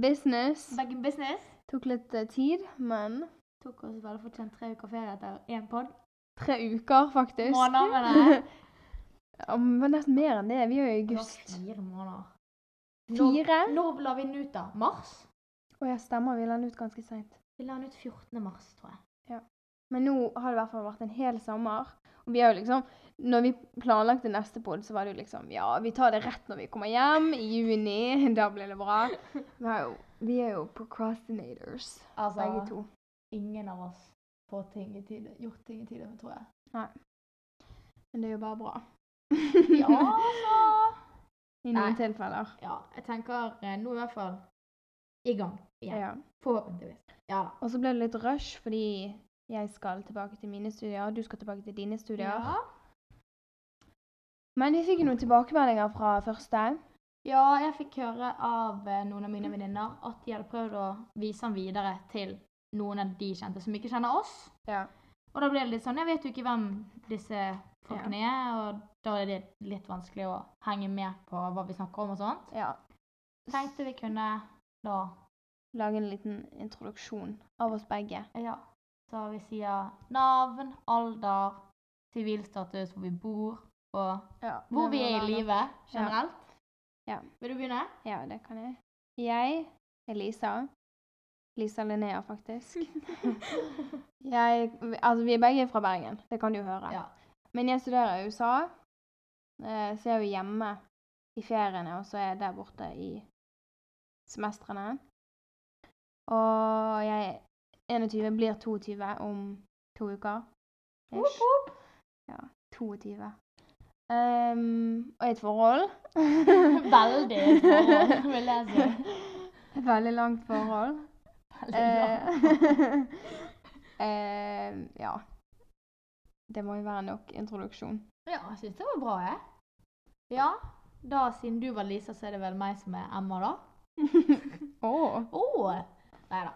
business. Back in business. Tok litt eh, tid, men Tok oss vel fortjent tre uker ferie etter én pod. tre uker, faktisk. Måneder, mener jeg. Ja, men det var nesten mer enn det. Vi er jo i Det var august. Fire måneder. Fire? Når, når la vi den ut, da? Mars? Å ja, stemmer. Vi la den ut ganske seint. Vi la den ut 14. mars, tror jeg. Men nå har det i hvert fall vært en hel sommer. Og vi har jo liksom Når vi planlagte neste pod, så var det jo liksom Ja, vi tar det rett når vi kommer hjem i juni. Da blir det bra. Vi, har jo, vi er jo procrastinators, Altså, begge to. ingen av oss får ting i tide, gjort ting i tide, tror jeg. Men det er jo bare bra. Ja, altså! I noen Nei. tilfeller. Ja, jeg tenker eh, nå i hvert fall i gang igjen. Ja. Forhåpentligvis. Ja da. Og så ble det litt rush fordi jeg skal tilbake til mine studier, og du skal tilbake til dine studier. Ja. Men vi fikk jo noen tilbakemeldinger fra første. ja, jeg fikk høre av eh, noen av mine venninner at de hadde prøvd å vise den videre til noen av de kjente som ikke kjenner oss. Ja. Og da ble det litt sånn Jeg vet jo ikke hvem disse folkene er, og da er det litt vanskelig å henge med på hva vi snakker om og sånt. ja. Tenkte vi kunne da Lage en liten introduksjon av oss begge. Ja. Så vi sier navn, alder, sivilstatus, hvor vi bor, og Ja, hvor det vi må er i være nok. live generelt. Ja. Vil du begynne? Ja, det kan jeg. Jeg er Lisa. Lisa Linnea, faktisk. jeg, altså, vi er begge fra Bergen, det kan du høre. Ja. Men jeg studerer i USA, eh, så jeg er jo hjemme i feriene, og så er jeg der borte i semestrene. Og jeg er 21, blir 22 om to uker. Ish. Woop, woop. 22. Ehm, og i et forhold. Veldig forhold, vil jeg si. Et veldig langt forhold. Eh, Veldig bra. Eh, eh, ja. Det må jo være nok introduksjon. Ja, jeg syns det var bra, jeg. Ja, da siden du var Lisa, så er det vel meg som er Emma, da. Åh. Å! Nei da.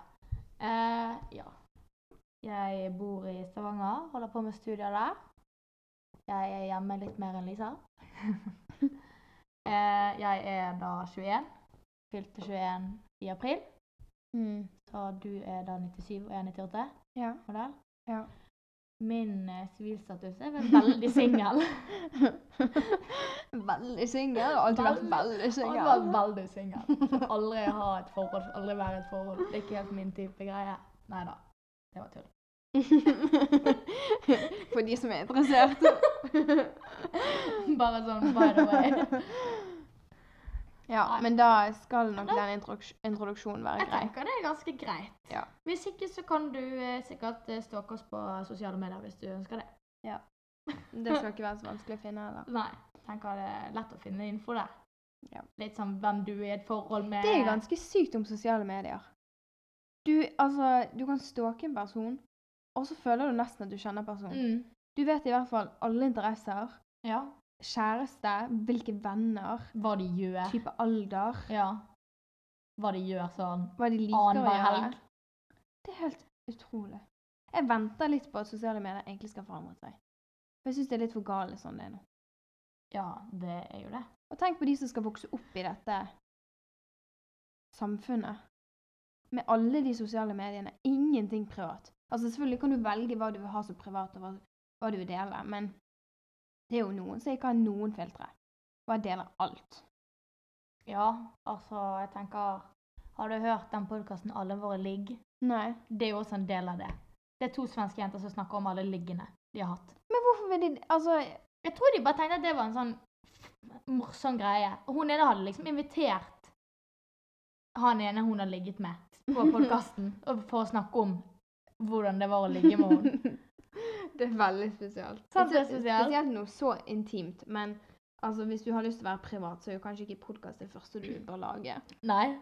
Eh, ja. Jeg bor i Stavanger, holder på med studier der. Jeg er hjemme litt mer enn Lisa. Eh, jeg er da 21. Fylte 21 i april. Mm. Så du er da 97 og jeg er 98 Ja. modell. Ja. Min eh, sivilstatus er vel veldig singel. veldig singel. Har alltid vært Veldig- veldig Aldri vært singel. veldig singel. Aldri ha et forhold, aldri være i et forhold. Det er ikke helt min type greie. Nei da. Det var tull. For de som er interessert. Bare sånn by the way. Ja, Nei. men da skal nok den introduks- introduksjonen være Jeg grei. tenker det er ganske greit. Ja. Hvis ikke så kan du eh, sikkert eh, stalke oss på sosiale medier hvis du ønsker det. Det skal ikke være så vanskelig å finne heller. Nei. Tenker det er lett å finne info der. Ja. Litt sånn hvem du er i et forhold med. Det er ganske sykt om sosiale medier. Du, altså, du kan stalke en person, og så føler du nesten at du kjenner personen. mm. Du vet i hvert fall alle interesser, Ja. kjæreste, hvilke venner, Hva de gjør. type alder, Ja. Hva de gjør sånn hva de liker å annenhver gjøre. helg. Det er helt utrolig. Jeg venter litt på at sosiale medier egentlig skal forandre seg. For jeg syns det er litt for gale sånn det er nå. Ja, det er jo det. Og tenk på de som skal vokse opp i dette samfunnet. Med alle de sosiale mediene. Ingenting privat. Altså Selvfølgelig kan du velge hva du vil ha som privat, og hva, hva du vil dele, men det er jo noen som ikke har noen filtre. Og jeg deler alt. Ja, altså, jeg tenker Har du hørt den podkasten 'Alle våre ligg'? Nei. Det er jo også en del av det. Det er to svenske jenter som snakker om alle liggene de har hatt. Men hvorfor vil de Altså, Jeg tror de bare tenkte at det var en sånn morsom greie. Og hun ene hadde liksom invitert han ene hun har ligget med, på podkasten for å snakke om hvordan det var å ligge med henne. Det er veldig spesielt. Sant, det er spesielt. spesielt. Spesielt noe så intimt. Men altså, hvis du har lyst til å være privat, så er jo kanskje ikke podkast det første du bør lage. Nei.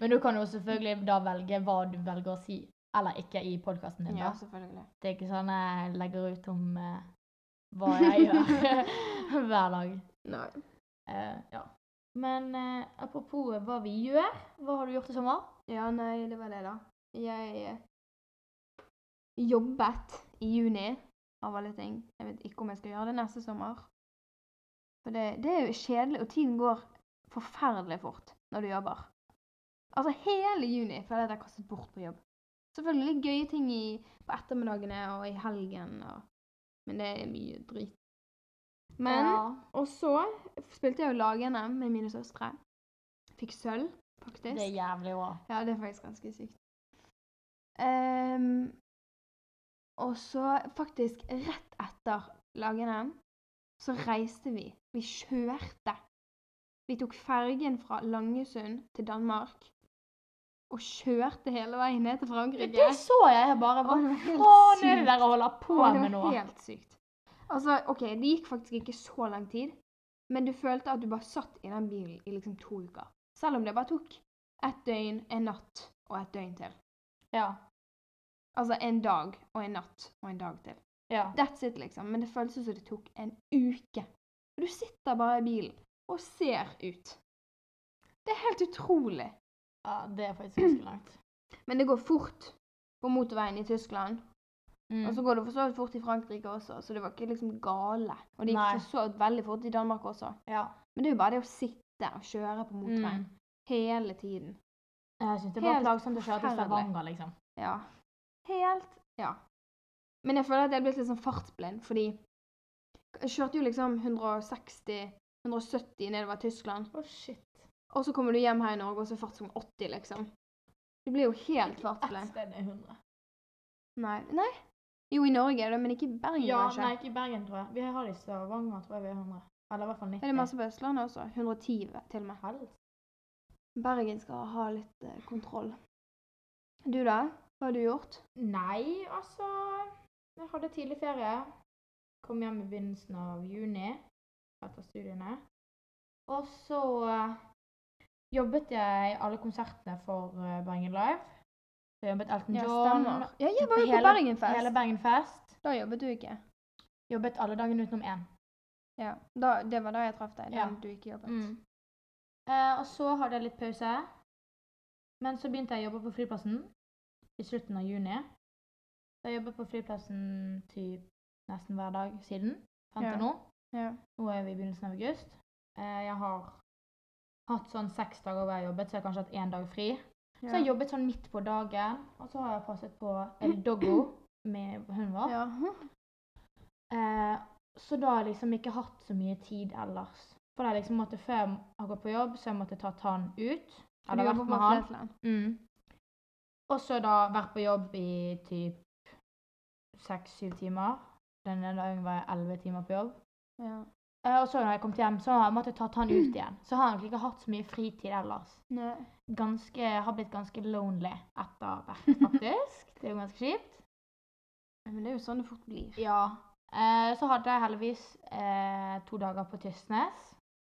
Men du kan jo selvfølgelig da velge hva du velger å si eller ikke i podkasten din. da. ja, selvfølgelig. Det er ikke sånn jeg legger ut om eh, hva jeg gjør hver dag. Nei. Eh, ja. Men eh, apropos hva vi gjør, hva har du gjort i sommer? Ja, nei, det var det, da. Jeg eh, jobbet i juni, av alle ting. Jeg vet ikke om jeg skal gjøre det neste sommer. For det, det er jo kjedelig, og tiden går forferdelig fort når du jobber. Altså hele juni føler jeg at jeg har kastet bort på jobb. Selvfølgelig gøye ting i, på ettermiddagene og i helgen, og, men det er mye drit. Men ja. Og så spilte jeg jo lagene med mine søstre. Fikk sølv, faktisk. Det er jævlig bra. Ja, det er faktisk ganske sykt. Ehm, og så faktisk rett etter lagene så reiste vi. Vi kjørte. Vi tok fergen fra Langesund til Danmark og kjørte hele veien ned til Frankrike. Det så jeg, jeg bare. Hva Å, det var helt faen er det sykt. dere holder på Å, med nå? Det var helt sykt. Altså, ok, det gikk faktisk ikke så lang tid, men du følte at du bare satt i den bilen i liksom to uker. Selv om det bare tok ett døgn, en natt og et døgn til. Ja. Altså en dag og en natt og en dag til. ja. That's it, liksom. Men det føltes som det tok en uke. Du sitter bare i bilen og ser ut. Det er helt utrolig. ja det er faktisk ganske langt. Men det går fort på motorveien i Tyskland. Mm. Og så går det for så vidt fort i Frankrike også, så det var ikke liksom gale. Og det gikk Nei. for så vidt veldig fort i Danmark også. ja. Men det er jo bare det å sitte og kjøre på motorveien Mm. hele tiden. Jeg syns det var Helt plagsomt å kjøre til forferdelig. Stavanger, liksom. Ja. Helt Ja. Men jeg føler at jeg er blitt litt sånn fartsblind, fordi jeg kjørte jo liksom 160-170 nedover Tyskland, Å, shit. og så kommer du hjem her i Norge, og så er fartsgang 80, liksom. Du blir jo helt Ett fartsblind. sted er 100. Nei. Nei. Jo, i Norge er det, men ikke i Bergen, Ja, kanskje. nei, ikke i Bergen, tror jeg. Vi har det i Stavanger, tror jeg vi er 100. Eller i hvert fall 90. Er det masse på Østlandet også? 110 til og med. Helvete. Bergen skal ha litt eh, kontroll. Du da? Hva har du gjort? Nei, altså Jeg hadde tidlig ferie. Kom hjem i begynnelsen av juni etter studiene. Og så eh, jobbet jeg i alle konsertene for eh, Bergen Live. Så jobbet Elton John. Ja, jeg var jo på hele- Bergenfest. Hele Bergenfest. Da jobbet du ikke. Jobbet alle dagene utenom én. Ja, da, Det var da jeg traff deg. Da Ja. du ikke jobbet. Mm. Eh, og så hadde jeg litt pause. Men så begynte jeg å jobbe på flyplassen i slutten av juni. Så jeg jobbet på flyplassen typ nesten hver dag siden. Frem til Ja. nå. Ja. Nå er vi i begynnelsen av august. Eh, jeg har hatt sånn seks dager hvor jeg har jobbet, så jeg har kanskje hatt én dag fri. Så jeg har jobbet sånn midt på dagen, og så har jeg passet på El Doggo med hunden vår. Ja. Eh, så da har jeg liksom ikke hatt så mye tid ellers. For det er liksom at før jeg har gått på jobb, så jeg måtte tatt han ut. Du Eller jobber vært på med han. Flesland. Mm. Og så da vært på jobb i typ seks-syv timer. Den ene dagen var jeg elleve timer på jobb. Ja. Eh, og så når jeg kom hjem, så har jeg måttet tatt han ut igjen. Så har jeg egentlig ikke hatt så mye fritid ellers. Nei. Ganske, har blitt ganske lonely etter hvert, faktisk. Det er jo ganske kjipt. Men det er jo sånn det fort blir. Ja. Eh, så hadde jeg heldigvis eh, to dager på Tysnes.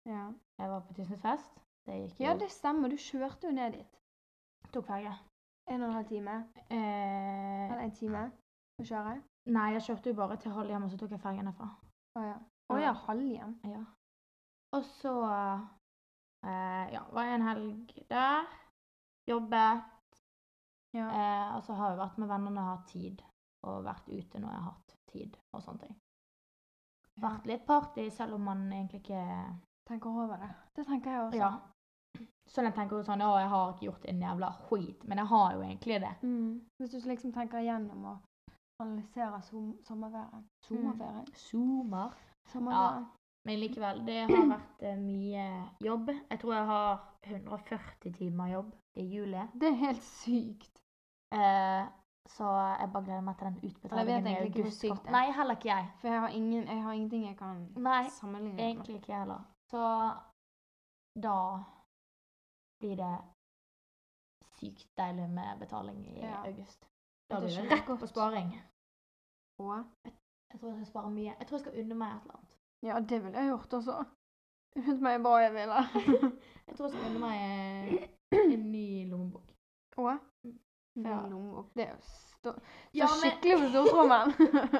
Ja. Jeg var på Tysnesfest. Det gikk jo. ja, det stemmer. Du kjørte jo ned dit. tok ferge. En og en halv time. Eh, Eller en time å kjøre. nei, jeg kjørte jo bare til Halhjem, og så tok jeg fergen derfra. Å ja. Å ja, Halhjem. Ja. Og så eh, ja, var jeg en helg der. Jobbet. Ja. Eh, og så har jeg vært med venner når jeg har hatt tid, og vært ute når jeg har hatt tid, og sånne ting. Vært litt party, selv om man egentlig ikke Tenker over det. Det tenker jeg også. Ja. Sånn jeg tenker jo sånn Å, jeg har ikke gjort en jævla skit, men jeg har jo egentlig det. Mm. Hvis du liksom tenker igjennom og analyserer som sommerferien. Sommerferien? Zoomer. Sommerferien. Men likevel, det har vært eh, mye jobb. Jeg tror jeg har 140 timer jobb i juli. Det er helt sykt. Eh, så jeg bare gleder meg til den Jeg vet utbetalingen i egentlig ikke hvor august. sykt det er. Nei, heller ikke jeg. For jeg har, ingen, jeg har ingenting jeg kan Nei, sammenligne det med. egentlig ikke jeg heller. Så da blir det sykt deilig med betaling i Ja. august. Det Da blir skjønner det jeg rett godt. på sparing. Og Jeg tror jeg skal spare mye. Jeg tror jeg skal unne meg et eller annet. ja, det ville jeg gjort også. Unnet meg hva jeg ville. Jeg tror jeg skal unne meg eh, en ny lommebok. Og Ja. lommebok. Det er jo stå... Så Ja, men- skikkelig på stortrommen.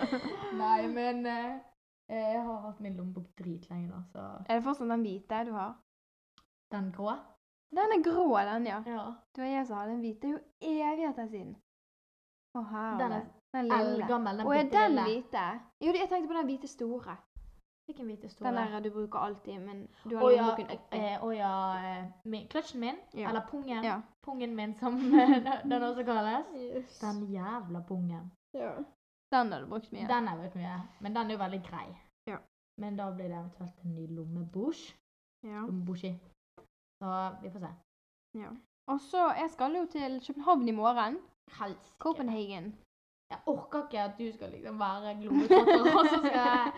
Nei, men eh, jeg har hatt min lommebok dritlenge nå, så er det fortsatt den hvite du har? Den grå? Den er grå, den, ja. Ja. Du og jeg som hadde den hvite. Det er jo evigheter siden. Å, herlig. Den er Den lille. eldgammel. Og er bitte den lille. hvite? Jo, jeg tenkte på den hvite store. Hvilken hvit historie? Den der du bruker alltid, men du har Å ja, lommeboken oppi. eh, å ja eh, min- Kløtsjen min, Ja. eller pungen. Eh, Ja. Pungen min, som eh, den også kalles. Den jævla pungen. Ja. Den har du brukt mye. Den er brukt mye, men den er jo veldig grei. Ja. Men da blir det eventuelt en ny lommebosj. Ja. Lommebosji. Så vi får se. Og så, jeg skal jo til København i morgen. Helsike. Copenhagen. Jeg orker ikke at du skal liksom være globetrotter, og så skal jeg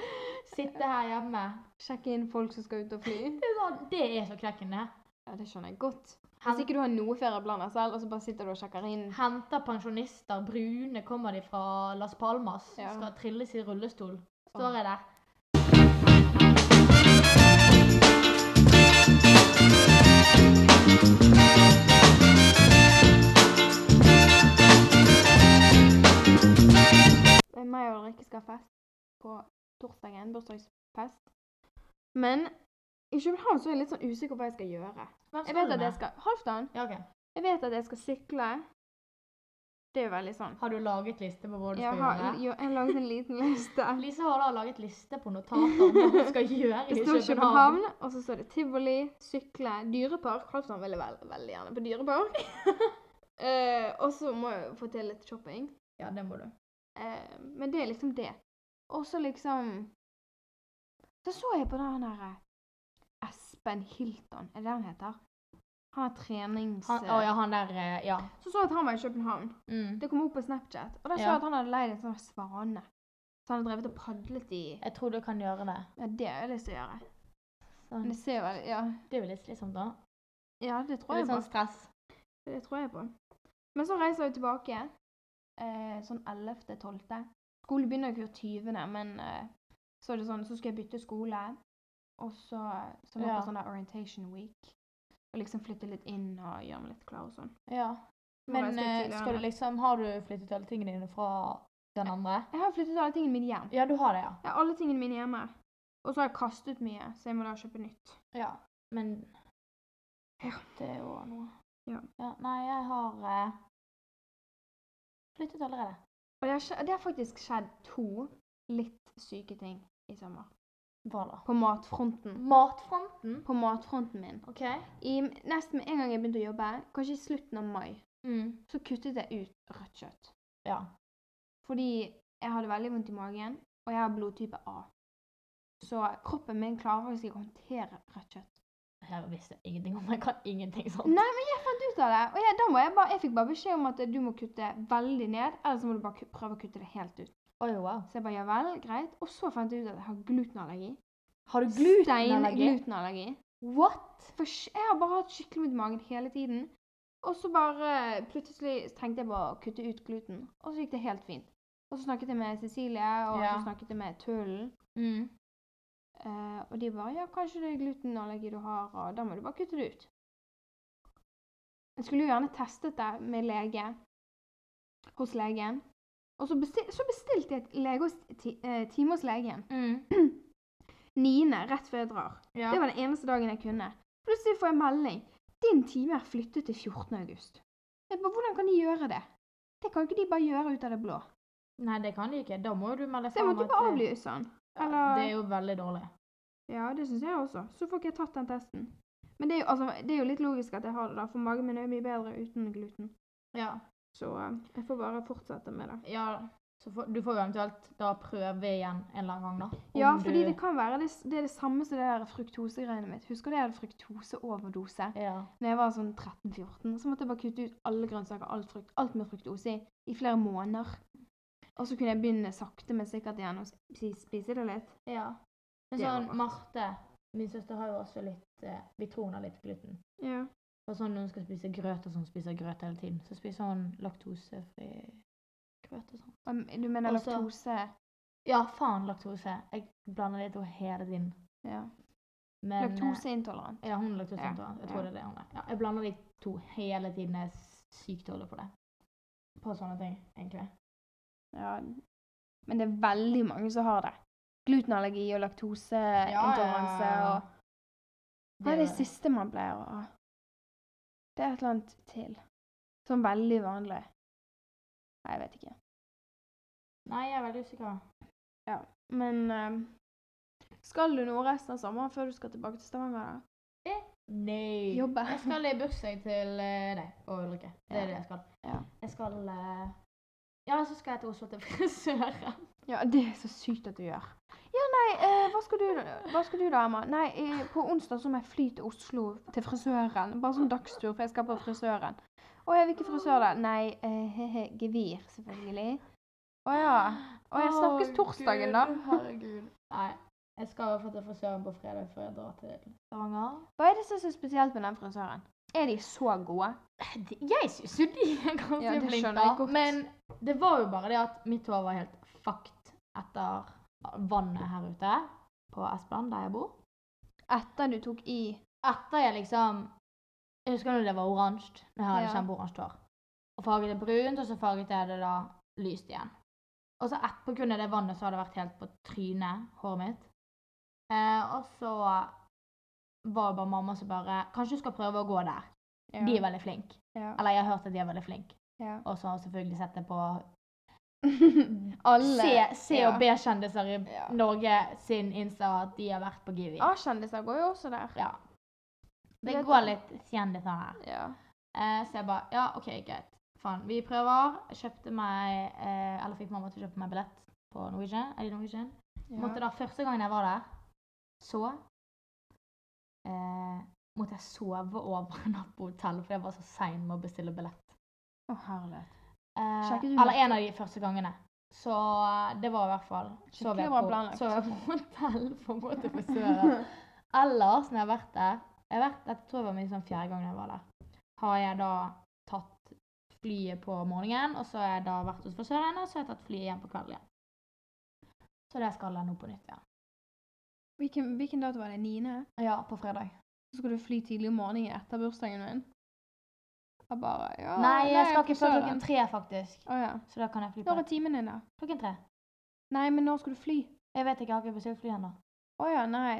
sitte her hjemme. Sjekke inn folk som skal ut og fly. Det er, sånn, det er så knekkende. Ja, det skjønner jeg godt. Hvis Hen- ikke du har noe ferieplaner selv, og så bare sitter du og sjekker inn. Henter pensjonister, brune kommer de fra Las Palmas, Ja. skal trilles i rullestol. Står jeg der. Eh, Meg og Ulrikke skal ha fest på torsdagen, bursdagsfest. Men i København så er jeg litt sånn usikker på hva jeg skal gjøre. Hvem Jeg skal vet du at jeg med? skal Halvdan, Ja, ok. jeg vet at jeg skal sykle. Det er jo veldig sånn. Har du laget liste på hva du Jeg skal har, gjøre? jo, jeg har laget en sånn liten liste. Lise har da laget liste på notater om hva hun skal gjøre i Det står København, og så står det tivoli, sykle, dyrepark. Halvdan ville vel, veldig gjerne på dyrepark. Eh, og så må jeg jo få til litt shopping. Ja, det må du. Eh, men det er liksom det. Og så liksom Så så jeg på den der Espen Hilton, er det det han heter? Han har trenings... Han, å ja, han der eh, Ja. Så så jeg at han var i København. Mm. Det kom opp på Snapchat. Og der så Ja. jeg at han hadde leid en sånn svane. Så han hadde drevet og padlet i Jeg tror du kan gjøre det. Ja, det har jeg lyst til å gjøre. Sånn. Men det ser jo veldig Ja, Det er jo litt slitsomt, da. ja det tror jeg Litt på. sånn stress. Det tror jeg på. Men så reiser jeg tilbake eh, sånn 11.-12. Skolen begynner jo ikke før 20., men eh, så er det sånn, så skal jeg bytte skole. Og så så må jeg Ja. på sånn der orientation week. Og liksom flytte litt inn og gjøre meg litt klar og sånn. Ja. Må reise litt Men eh, tidligere skal du enn- liksom Har du flyttet alle tingene dine fra den andre? Jeg har flyttet alle tingene mine hjem. Ja, du har det, ja. Jeg har alle tingene mine hjemme. Og så har jeg kastet mye, så jeg må da kjøpe nytt. Ja. Men Ja. Det er jo noe. Ja. Nei, jeg har eh, flyttet allerede. Og det har, skje- det har faktisk skjedd to litt syke ting i sommer. Hva da? På matfronten. Matfronten. På matfronten min. OK. I, nesten med en gang jeg begynte å jobbe, kanskje i slutten av mai, Mm. så kuttet jeg ut rødt kjøtt. Ja. Fordi jeg hadde veldig vondt i magen, og jeg har blodtype A. Så kroppen min klarer faktisk ikke å håndtere rødt kjøtt. Jeg visste ingenting om det. Jeg kan ingenting sånn. Nei, men jeg fant ut av det! Og jeg, da må jeg, bare, jeg fikk bare beskjed om at du må kutte veldig ned, eller så må du bare ku- prøve å kutte det helt ut. Oi, wow. Så jeg bare ja vel, greit. Og så fant jeg ut at jeg har glutenallergi. Har du glutenallergi? Steinglutenallergi. What? For sj- jeg har bare hatt skikkelig vondt i magen hele tiden. Og så bare eh, plutselig tenkte jeg bare å kutte ut gluten. Og så gikk det helt fint. Og så snakket jeg med Cecilie, og Ja. så snakket jeg med Tullen. Mm. Eh, og de bare 'Ja, kanskje det er glutenallergi du har, og da må du bare kutte det ut'. Jeg skulle jo gjerne testet det med lege hos legen. Og så, bestil, så bestilte jeg et lege hos, ti, eh, time hos legen. Mm. 9. rett før jeg drar. Ja. Det var den eneste dagen jeg kunne. Plutselig får jeg melding. Din time er flyttet til 14. august. Jeg bare, Hvordan kan de gjøre det? Det kan jo ikke de bare gjøre ut av det blå. Nei, det kan de ikke. Da må jo du melde Så jeg måtte jo bare eh, avlyse den. Det Eller er jo veldig dårlig. Ja, det syns jeg også. Så får ikke jeg tatt den testen. Men det er, jo, altså, det er jo litt logisk at jeg har det, da, for magen min er jo mye bedre uten gluten. Ja. Så eh, jeg får bare fortsette med det. ja så får- du får jo eventuelt da prøve igjen en eller annen gang, da. Om Ja, fordi du- det kan være det, s- det er det samme som det der fruktoseregnet mitt. Husker du jeg hadde fruktoseoverdose? Ja. Når jeg var sånn 13-14, så måtte jeg bare kutte ut alle grønnsaker, alt frukt, alt med fruktose i, i flere måneder. Og så kunne jeg begynne sakte, men sikkert igjen å spi- spise det litt. ja. Men Det var sånn rart. Marte, min søster, har jo også litt eh, Vi tror hun har litt gluten. Ja. Og sånn når hun skal spise grøt, og sånn spiser grøt hele tiden, så spiser hun laktosefri grøt og sånn. Du mener Også- laktose? Ja, faen laktose. Jeg blander de to hele tiden. Ja. Men, eh, Laktoseintolerant. Ja, hun er laktoseintolerant. Ja, Jeg tror ja. det er det hun er. Ja, jeg blander de to hele tiden. Jeg er sykt dårlig på det. På sånne ting, egentlig. Ja. Men det er veldig mange som har det. Glutenallergi og laktoseintoleranse og Hva er det siste man pleier å ha? Det er et eller annet til. Sånn veldig vanlig. Nei, jeg vet ikke. Nei, jeg er veldig usikker. Men eh, Skal du noe resten av sommeren før du skal tilbake til Stavanger? da? Nei. Jobbe. Jeg skal i bursdag til eh, deg og Ulrikke. Det Ja. er det jeg skal. Ja. Jeg skal eh, Ja, så skal jeg til Oslo til frisøren. Ja, det er så sykt at du gjør. Ja, nei, eh, hva, skal du, hva skal du da, Emma? Nei, eh, på onsdag så må jeg fly til Oslo, til frisøren. Bare sånn dagstur, for jeg skal på frisøren. Å ja, hvilken frisør da? Nei, eh, he-he, gevir, selvfølgelig. Å ja. Å, jeg snakkes Å, torsdagen, Gud, da. Herregud. Nei. Jeg skal i hvert fall til frisøren på fredag før jeg drar til Stavanger. Hva er det som er så spesielt med den frisøren? Er de så gode? Det- Jeg syns jo de er ganske Ja, det skjønner flinke. jeg da. godt. Men det var jo bare det at mitt hår var helt fucked etter vannet her ute på Espeland, der jeg bor. Etter du tok i Etter jeg liksom Jeg husker når det var oransje. Når jeg hadde Ja. kjempeoransje hår. Og farget det brunt, og så farget jeg det da lyst igjen. Og så et- på grunn av det vannet så hadde det vært helt på trynet, håret mitt. Eh, og så var det bare mamma som bare Kanskje du skal prøve å gå der. ja. De er veldig flinke. Ja. Eller jeg har hørt at de er veldig flinke. ja. Og så har jeg selvfølgelig sett det på Alle. C- C- ja. og B-kjendiser i Ja. Norge sin Insta at de har vært på Givi. A-kjendiser går jo også der. Ja. Det Vet går du- litt kjendiser her. Ja. Eh, så jeg bare Ja, OK, greit. Faen, vi prøver. Jeg kjøpte meg eh, Eller fikk mamma til å kjøpe meg billett på Norwegian. Er det Norwegian? Måtte ja. da første gangen jeg var der, så eh, måtte jeg sove over en natt på hotellet, for jeg var så sein med å bestille billett. Å, herlighet. Eh, Sjekket du eller natt- en av de første gangene. Så eh, det var i hvert fall Sov Skikkelig jeg bra på, planlagt. sov jeg på hotell for å gå til frisøren. Ellers, når jeg har vært der jeg har vært, Dette tror jeg var min sånn fjerde gang jeg var der. Har jeg da tatt flyet på morgenen, og så har jeg da vært hos frisøren, og så har jeg tatt flyet igjen på kvelden igjen. Så det skal jeg nå på nytt igjen. Hvilken, hvilken dato var det? Niende? Ja, på fredag. Så skal du fly tidlig om morgenen etter bursdagen min? Jeg bare ja, Nei, jeg skal ikke før frisøren. klokken tre, faktisk. Å ja. Så da kan jeg fly på Når er timen din, da? klokken tre. Nei, men når skal du fly? Jeg vet ikke, jeg har ikke bestilt fly ennå. Å ja, nei.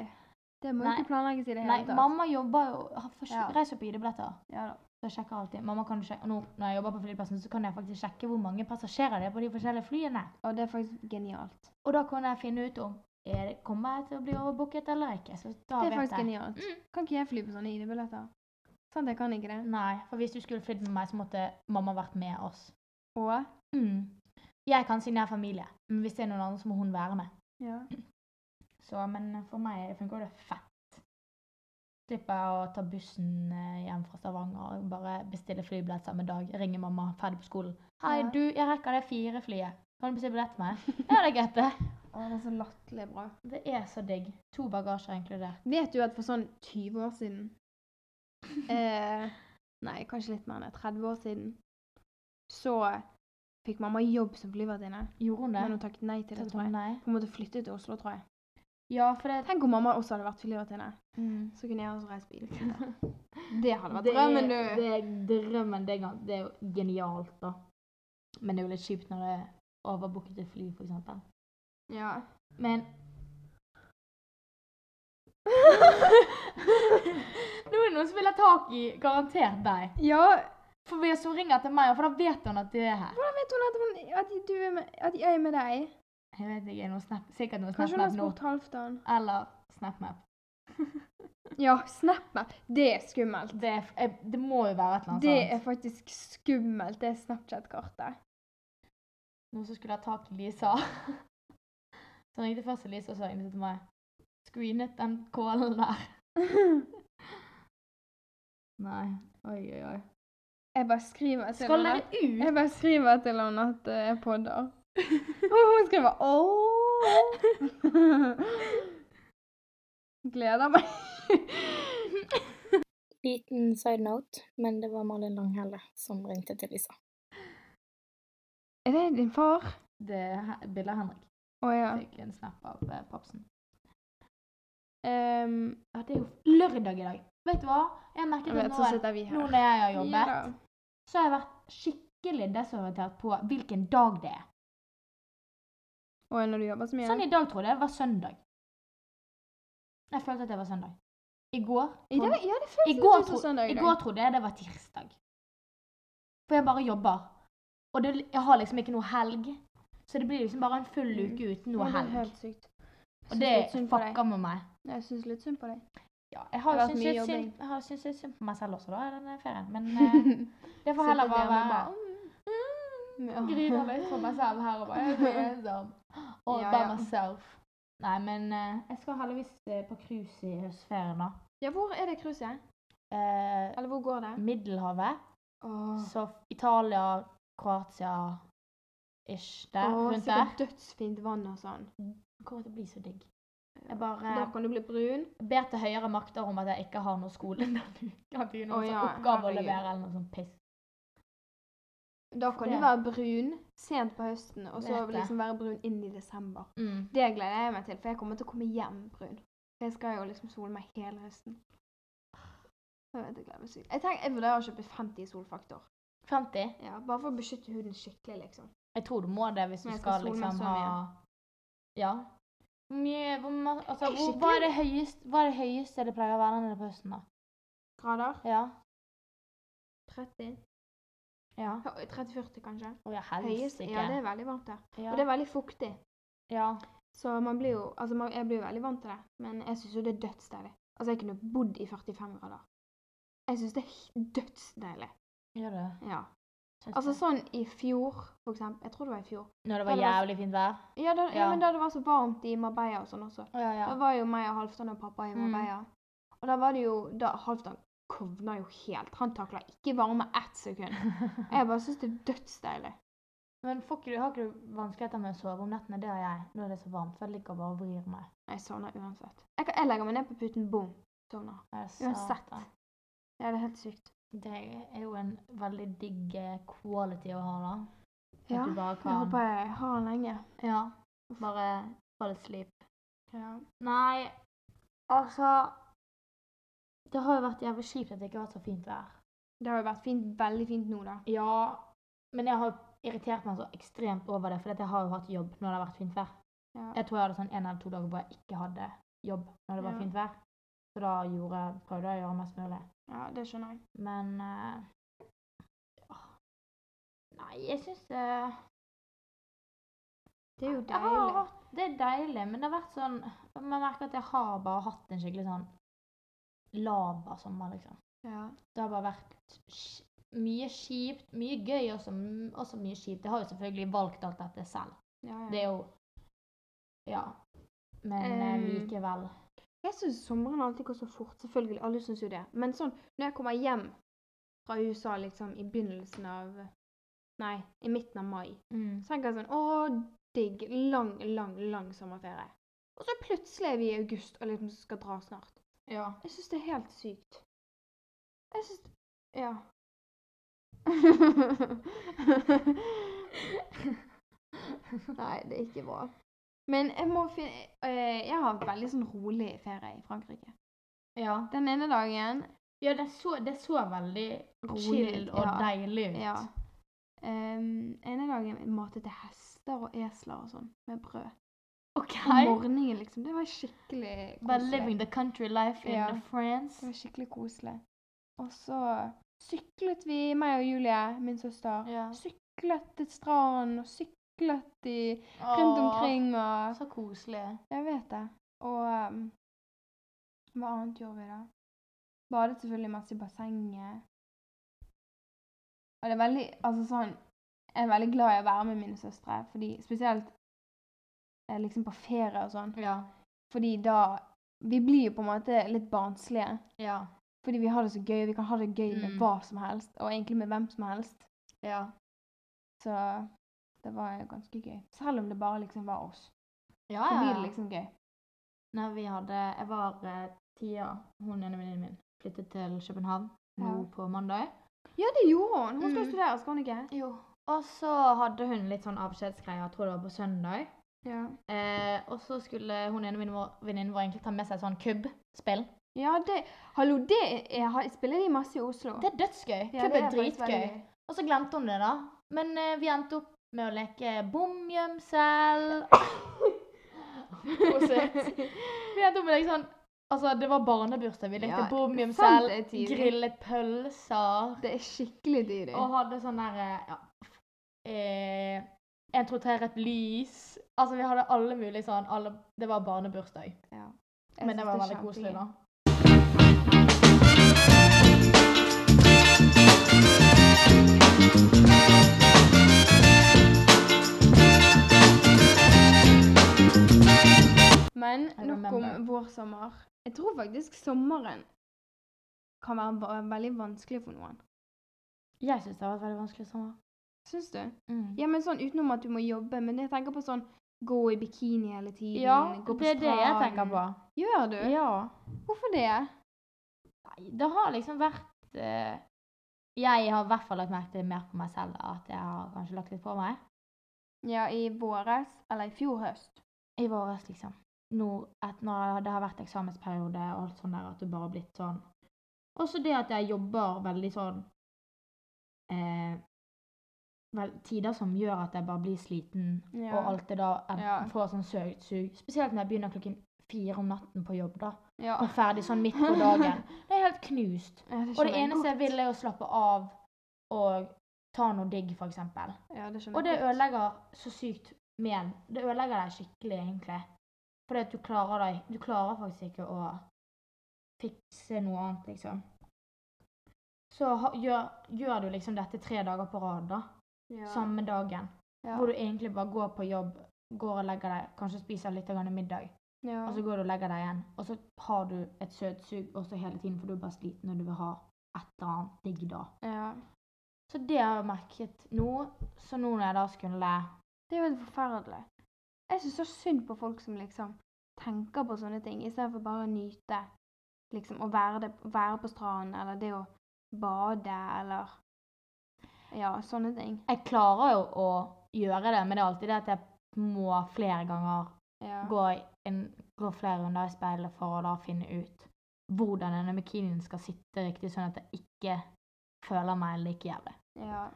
Det må jo Nei. ikke planlegges i det hele Nei, tatt. mamma jobber jo har for, Ja. Reiser på ID-billetter. Ja da. Så jeg sjekker alltid. Mamma kan du sjekke, nå, når jeg jobber på flyplassen, så kan jeg faktisk sjekke hvor mange passasjerer det er på de forskjellige flyene. Og det er faktisk genialt. Og da kan jeg finne ut om er det, kommer jeg til å bli overbooket eller ikke. Så Det da er vet faktisk jeg. genialt. Mm. Kan ikke jeg fly på sånne ID-billetter? Sant, jeg kan ikke det. Nei, for hvis du skulle flydd med meg, så måtte mamma vært med oss. Og Mm. Jeg kan si nær familie, men hvis det er noen andre, så må hun være med. ja. Så, men for meg funker det fett. Slipper jeg å ta bussen eh, hjem fra Stavanger og bare bestille flybillett samme dag. Ringe mamma, ferdig på skolen. Hei, Ja. du, jeg rekker det fire flyet. Kan du bestille billett til meg? Ja, det er greit, det. Å, det er så latterlig bra. Det er så digg. To bagasjer inkludert. Vet du at for sånn 20 år siden eh, Nei, kanskje litt mer enn det. 30 år siden. Så fikk mamma jobb som flyvertinne. Gjorde hun det? Men hun takket nei til det, Takk tror jeg. nei. Hun måtte flytte til Oslo, tror jeg. Ja, for det Tenk om mamma også hadde vært flyvertinne. mm. Så kunne jeg også reist bil. Det hadde vært Det er- drømmen, du. Det er drømmen. Det er, gan- det er jo genialt, da. Men det er jo litt kjipt når det er overbooket et fly, for eksempel. Ja. Men Nå er det noen som vil ha tak i garantert deg. ja, For hvis hun ringer til meg, for da vet hun at du er her. hvordan vet hun at, hun, at, du er med, at jeg er med deg? Jeg vet ikke, noen snap, sikkert noen Kanskje hun har snap-map nå. spurt Halvdan? Eller snap-map. Ja, SnapMap. Det er skummelt. Det, er f- eh, det må jo være et eller annet Det sånt. er faktisk skummelt, det Snapchat-kartet. noen som skulle ha tak i Lisa. Så ringte først til Lisa og så ringte hun til meg. Screenet den kålen der. Nei. Oi, oi, oi. Jeg bare skriver til Skal henne. dere ut? Jeg bare skriver til henne at eh, jeg podder. Og hun skriver ååå. Gleder meg. Liten side note, men det var Malin Langhelle som ringte til Lisa. Er det din far? Det er he- bildet av Henrik. Å ja. Fikk en snap av eh, papsen. Ehm, ja, det er jo lørdag i dag. Vet du hva? Jeg har merket Jeg at vet, nå, så er- sitter vi nå her. når jeg har jobbet, Ja. så har jeg vært skikkelig desorientert på hvilken dag det er. Og når du jobber så mye? Sånn i dag trodde jeg det var søndag. Jeg følte at det var søndag. I går I dag, ja, det føles I litt går, ut som tro, søndag I i dag. går trodde jeg det var tirsdag. For jeg bare jobber. Og det, jeg har liksom ikke noe helg. Så det blir liksom bare en full Mm. uke uten Ja, noe det er helg. helt sykt. Og Synes det litt synd på deg. fucka med meg. Jeg syns litt synd på deg. Ja, jeg har Det har jo vært syntes mye litt jobbing. synd- jeg har syntes litt synd på meg selv også, da, i denne ferien. Men eh, det får heller bare være «Mm, Ja. griner Mm, litt for meg selv her og bare jeg blir ensom. All Ja, by ja. myself. Nei, men eh, jeg skal heldigvis eh, på cruise i høstferien, da. ja, hvor er det cruiset? Eh, Eller hvor går det? Middelhavet. Åh, Så Italia, Kroatia ish der. Åh, rundt der. sikkert dødsfint vann og sånn. Det kommer til å bli så digg. Jeg Da bare kan du bli brun. ber til høyere makter om at jeg ikke har noe skole denne uken. At jeg har Å noen ja, sånn oppgave å herregud. levere eller noe sånt piss. Da kan Det- du være brun sent på høsten, og så Vet det. liksom være brun inn i desember. Mm. Det gleder jeg meg til, for jeg kommer til å komme hjem brun. For jeg skal jo liksom sole meg hele høsten. Jeg vet, jeg gleder meg sykt. Jeg tenker, jeg vurderer å kjøpe 50 i solfaktor. 50? Ja, Bare for å beskytte huden skikkelig, liksom. Jeg tror du må det hvis du Men jeg skal skal sole meg liksom så ha mye. Ja. Hvor mye hvor, ma- altså, Det er hvor, Hva skikkelig. er det høyeste, hva er det, høyeste det pleier å være nede på høsten, da? Grader? Ja. 30? Ja. Ja, 30-40, kanskje. Å ja, Høyest? helsike. Ja, det er veldig varmt der. ja. Og det er veldig fuktig. ja. Så man blir jo Altså, man, jeg blir jo veldig vant til det. Men jeg syns jo det er dødsdeilig. Altså, jeg kunne bodd i 45 grader. Jeg syns det er h- dødsdeilig. Gjør det. Ja. Syns Altså det. sånn i fjor, for eksempel. Jeg tror det var i fjor. Når det da var det var- jævlig fint vær? Ja, da, ja. Ja. men da det var så varmt i Marbella og sånn også. Å ja, ja. Da var jo meg og Halvdan og pappa i Mm. Marbella. Og da var det jo da Halvdan kovna jo helt. Han takla ikke varme ett sekund. Jeg bare syns det er dødsdeilig. Men får ikke du, har ikke du vanskeligheter med å sove om nettene? Det har jeg. Nå er det så varmt, for jeg ligger bare og vrir meg. Jeg sovner uansett. Jeg, kan, jeg legger meg ned på puten, boom. Sovner. Jeg sa Uansett. det. Ja, det er helt sykt. Det er jo en veldig digg eh, quality å ha, da. At Ja, du bare Jeg kan håper jeg har den lenge. Ja. Bare fall asleep. Ja. Nei, altså Det har jo vært jævlig kjipt at det ikke har vært så fint vær. Det har jo vært fint, veldig fint nå, da. Ja, men jeg har irritert meg så ekstremt over det, for jeg har jo hatt jobb når det har vært fint vær. Ja. Jeg tror jeg hadde sånn en eller to dager hvor jeg ikke hadde jobb når det var Ja. fint vær. Så da gjorde, prøvde jeg å gjøre mest mulig. ja, det skjønner jeg. Men eh, åh. Nei, jeg syns eh, Det er jo Jeg har deilig. hatt, det er deilig, men det har vært sånn Man merker at jeg har bare hatt en skikkelig sånn lava sommer, liksom. Ja. Det har bare vært sk- mye kjipt, mye gøy også, m- også mye kjipt. Jeg har jo selvfølgelig valgt alt dette selv. Ja, Det ja. er jo Ja. Men eh, Um, likevel. Jeg syns sommeren alltid går så fort. Selvfølgelig, alle syns jo det. Men sånn, når jeg kommer hjem fra USA liksom i begynnelsen av Nei, i midten av mai, Mm. så tenker jeg sånn Å, digg. Lang, lang, lang sommerferie. Og så plutselig er vi i august og liksom skal dra snart. Ja. Jeg syns det er helt sykt. Jeg syns Ja. Nei, det er ikke bra. Men jeg må finne eh, Jeg har hatt veldig sånn rolig ferie i Frankrike. ja. Den ene dagen ja det, så, det så veldig Rolig, chill og ja. deilig ut. Ja. Um, ene dagen matet jeg hester og esler og sånn med brød. OK. Om morgenen, liksom. Det var skikkelig Bare koselig. living the country life in Ja. France. Det var skikkelig koselig. Og så syklet vi, meg og Julie, min søster, Ja. syklet til stranden og syklet i, rundt omkring Åh, og Så koselig. Jeg vet det. Og um, hva annet gjorde vi da? Badet selvfølgelig masse i bassenget. Og det er veldig Altså sånn Jeg er veldig glad i å være med mine søstre, fordi spesielt eh, liksom på ferie og sånn. Ja. Fordi da Vi blir jo på en måte litt barnslige. Ja. Fordi vi har det så gøy, og vi kan ha det gøy med Mm. hva som helst, og egentlig med hvem som helst. ja. Så det var ganske gøy. Selv om det bare liksom var oss. Ja, Så blir ja. det liksom gøy. Når vi hadde Jeg var eh, Tia, hun ene venninnen min, flyttet til København nå Ja. på mandag. Ja, det gjorde hun! Hun skal Mm. jo studere, skal hun ikke? Jo. Og så hadde hun litt sånn avskjedsgreier, jeg tror det var på søndag. Ja. Eh, og så skulle hun ene venninnen vår- venninnen vår egentlig ta med seg et sånn kubbspill. Ja, det Hallo, det er, har- spiller de masse i Oslo? Det er dødsgøy. Ja, Kubb det er faktisk dritgøy. veldig gøy. Og så glemte hun det, da. Men eh, vi endte opp med å leke bomgjemsel. Prosit. vi endte opp med å leke sånn Altså, det var barnebursdag. Vi lekte Ja, sant bomgjemsel, det er tidlig. grillet pølser Det er skikkelig dyrt. og hadde sånn derre ja, eh, en troterer et lys. Altså, vi hadde alle mulige sånn alle, Det var barnebursdag. Jeg Men synes det var er veldig koselig, kjempegøy. da. Men I nok remember. om vår sommer. Jeg tror faktisk sommeren kan være ba- veldig vanskelig for noen. Jeg syns det har vært veldig vanskelig sommer. Syns du? Mm. Ja, men sånn utenom at du må jobbe. Men jeg tenker på sånn gå i bikini hele tiden. Ja, gå på det er det jeg stranden. tenker på. Gjør du? Ja. Hvorfor det? Nei, det har liksom vært eh, Jeg har i hvert fall lagt merke til mer på meg selv at jeg har kanskje lagt litt på meg. Ja, i våres, eller i fjor høst. I våres, liksom. Nå, at når det har vært eksamensperiode og alt sånt der, at du bare har blitt sånn. Også det at jeg jobber veldig sånn eh, vel, Tider som gjør at jeg bare blir sliten, Ja. og alt det da jeg Ja. får sånn søvnsug. Spesielt når jeg begynner klokken fire om natten på jobb, da. Ja. Og ferdig sånn midt på dagen. Det er helt knust. Ja, Og det skjønner jeg eneste jeg godt. vil, er å slappe av og ta noe digg, f.eks. ja, det skjønner Og det jeg godt. ødelegger så sykt men. Det ødelegger deg skikkelig, egentlig. Fordi at du klarer deg Du klarer faktisk ikke å fikse noe annet, liksom. Så ha, gjør, gjør du liksom dette tre dager på rad, da. Ja. Samme dagen. Ja. Hvor du egentlig bare går på jobb, går og legger deg, kanskje spiser litt grann middag. ja. Og så går du og legger deg igjen, og så har du et søtsug også hele tiden, for du er bare sliten og du vil ha et eller annet digg da. ja. Så det har jeg merket nå. Så nå når jeg da skulle Det er jo helt forferdelig. Jeg syns så synd på folk som liksom tenker på sånne ting, istedenfor bare å nyte. Liksom å være, det, være på stranden, eller det å bade, eller Ja, sånne ting. Jeg klarer jo å gjøre det, men det er alltid det at jeg må flere ganger Ja. gå, i en, gå flere runder i speilet for å da finne ut hvordan denne bikinien skal sitte riktig, sånn at jeg ikke føler meg like jævlig. ja.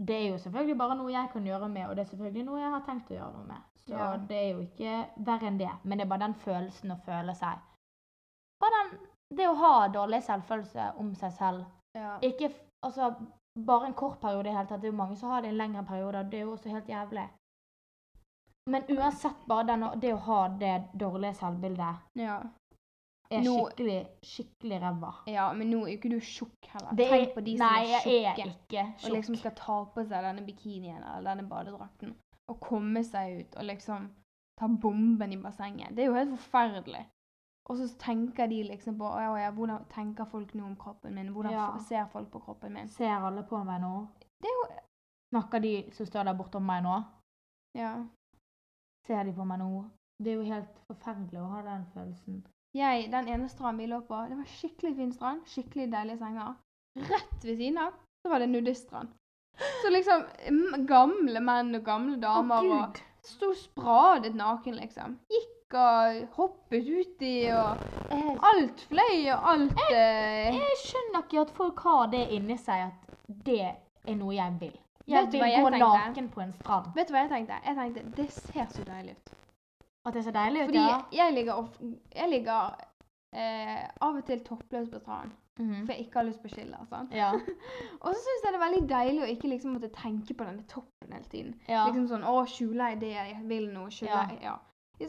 Det er jo selvfølgelig bare noe jeg kan gjøre med, og det er selvfølgelig noe jeg har tenkt å gjøre noe med. Så Ja. det er jo ikke verre enn det, men det er bare den følelsen å føle seg Bare den, det å ha dårlig selvfølelse om seg selv. ja. Ikke f- altså, bare en kort periode i det hele tatt. Det er jo mange som har det i en lengre periode, og det er jo også helt jævlig. Men uansett, bare den, å- det å ha det dårlige selvbildet ja. er Nå- skikkelig, skikkelig ræva. ja men nå er jo ikke du tjukk heller. Det Tenk på de som nei, er jeg er tjukke. ikke Og liksom tjukk. skal ta på seg denne bikinien eller denne badedrakten. Og komme seg ut og liksom ta bomben i bassenget. Det er jo helt forferdelig. Og så tenker de liksom på «Å, ja, ja, hvordan tenker folk nå om kroppen min? Hvordan Ja. ser folk på kroppen min? Ser alle på meg nå? Det er jo Snakker de som står der bortom meg nå? Ja. Ser de på meg nå? Det er jo helt forferdelig å ha den følelsen. Jeg, den ene stranden vi lå på, det var skikkelig fin strand. Skikkelig deilige senger. Rett ved siden av så var det nudiststrand. Så liksom mm, gamle menn og gamle damer og Sto spradet naken, liksom. Gikk og hoppet uti, og Jeg, alt fløy, og alt eh, jeg skjønner ikke at folk har det inni seg at det er noe jeg vil. Jeg Vet du vil hva jeg gå tenkte? naken på en strand. Vet du hva jeg tenkte? Jeg tenkte, Det ser så deilig ut. At det er så deilig ut, Fordi ja. jeg ligger, of, jeg ligger eh, av og til toppløs på stranden, Mhm. for jeg ikke har lyst på skiller. sant? Ja. Og så syns jeg det er veldig deilig å ikke liksom måtte tenke på denne toppen hele tiden. ja. Liksom sånn Å, skjuler jeg det jeg vil nå? Ja. Skjuler jeg Ja.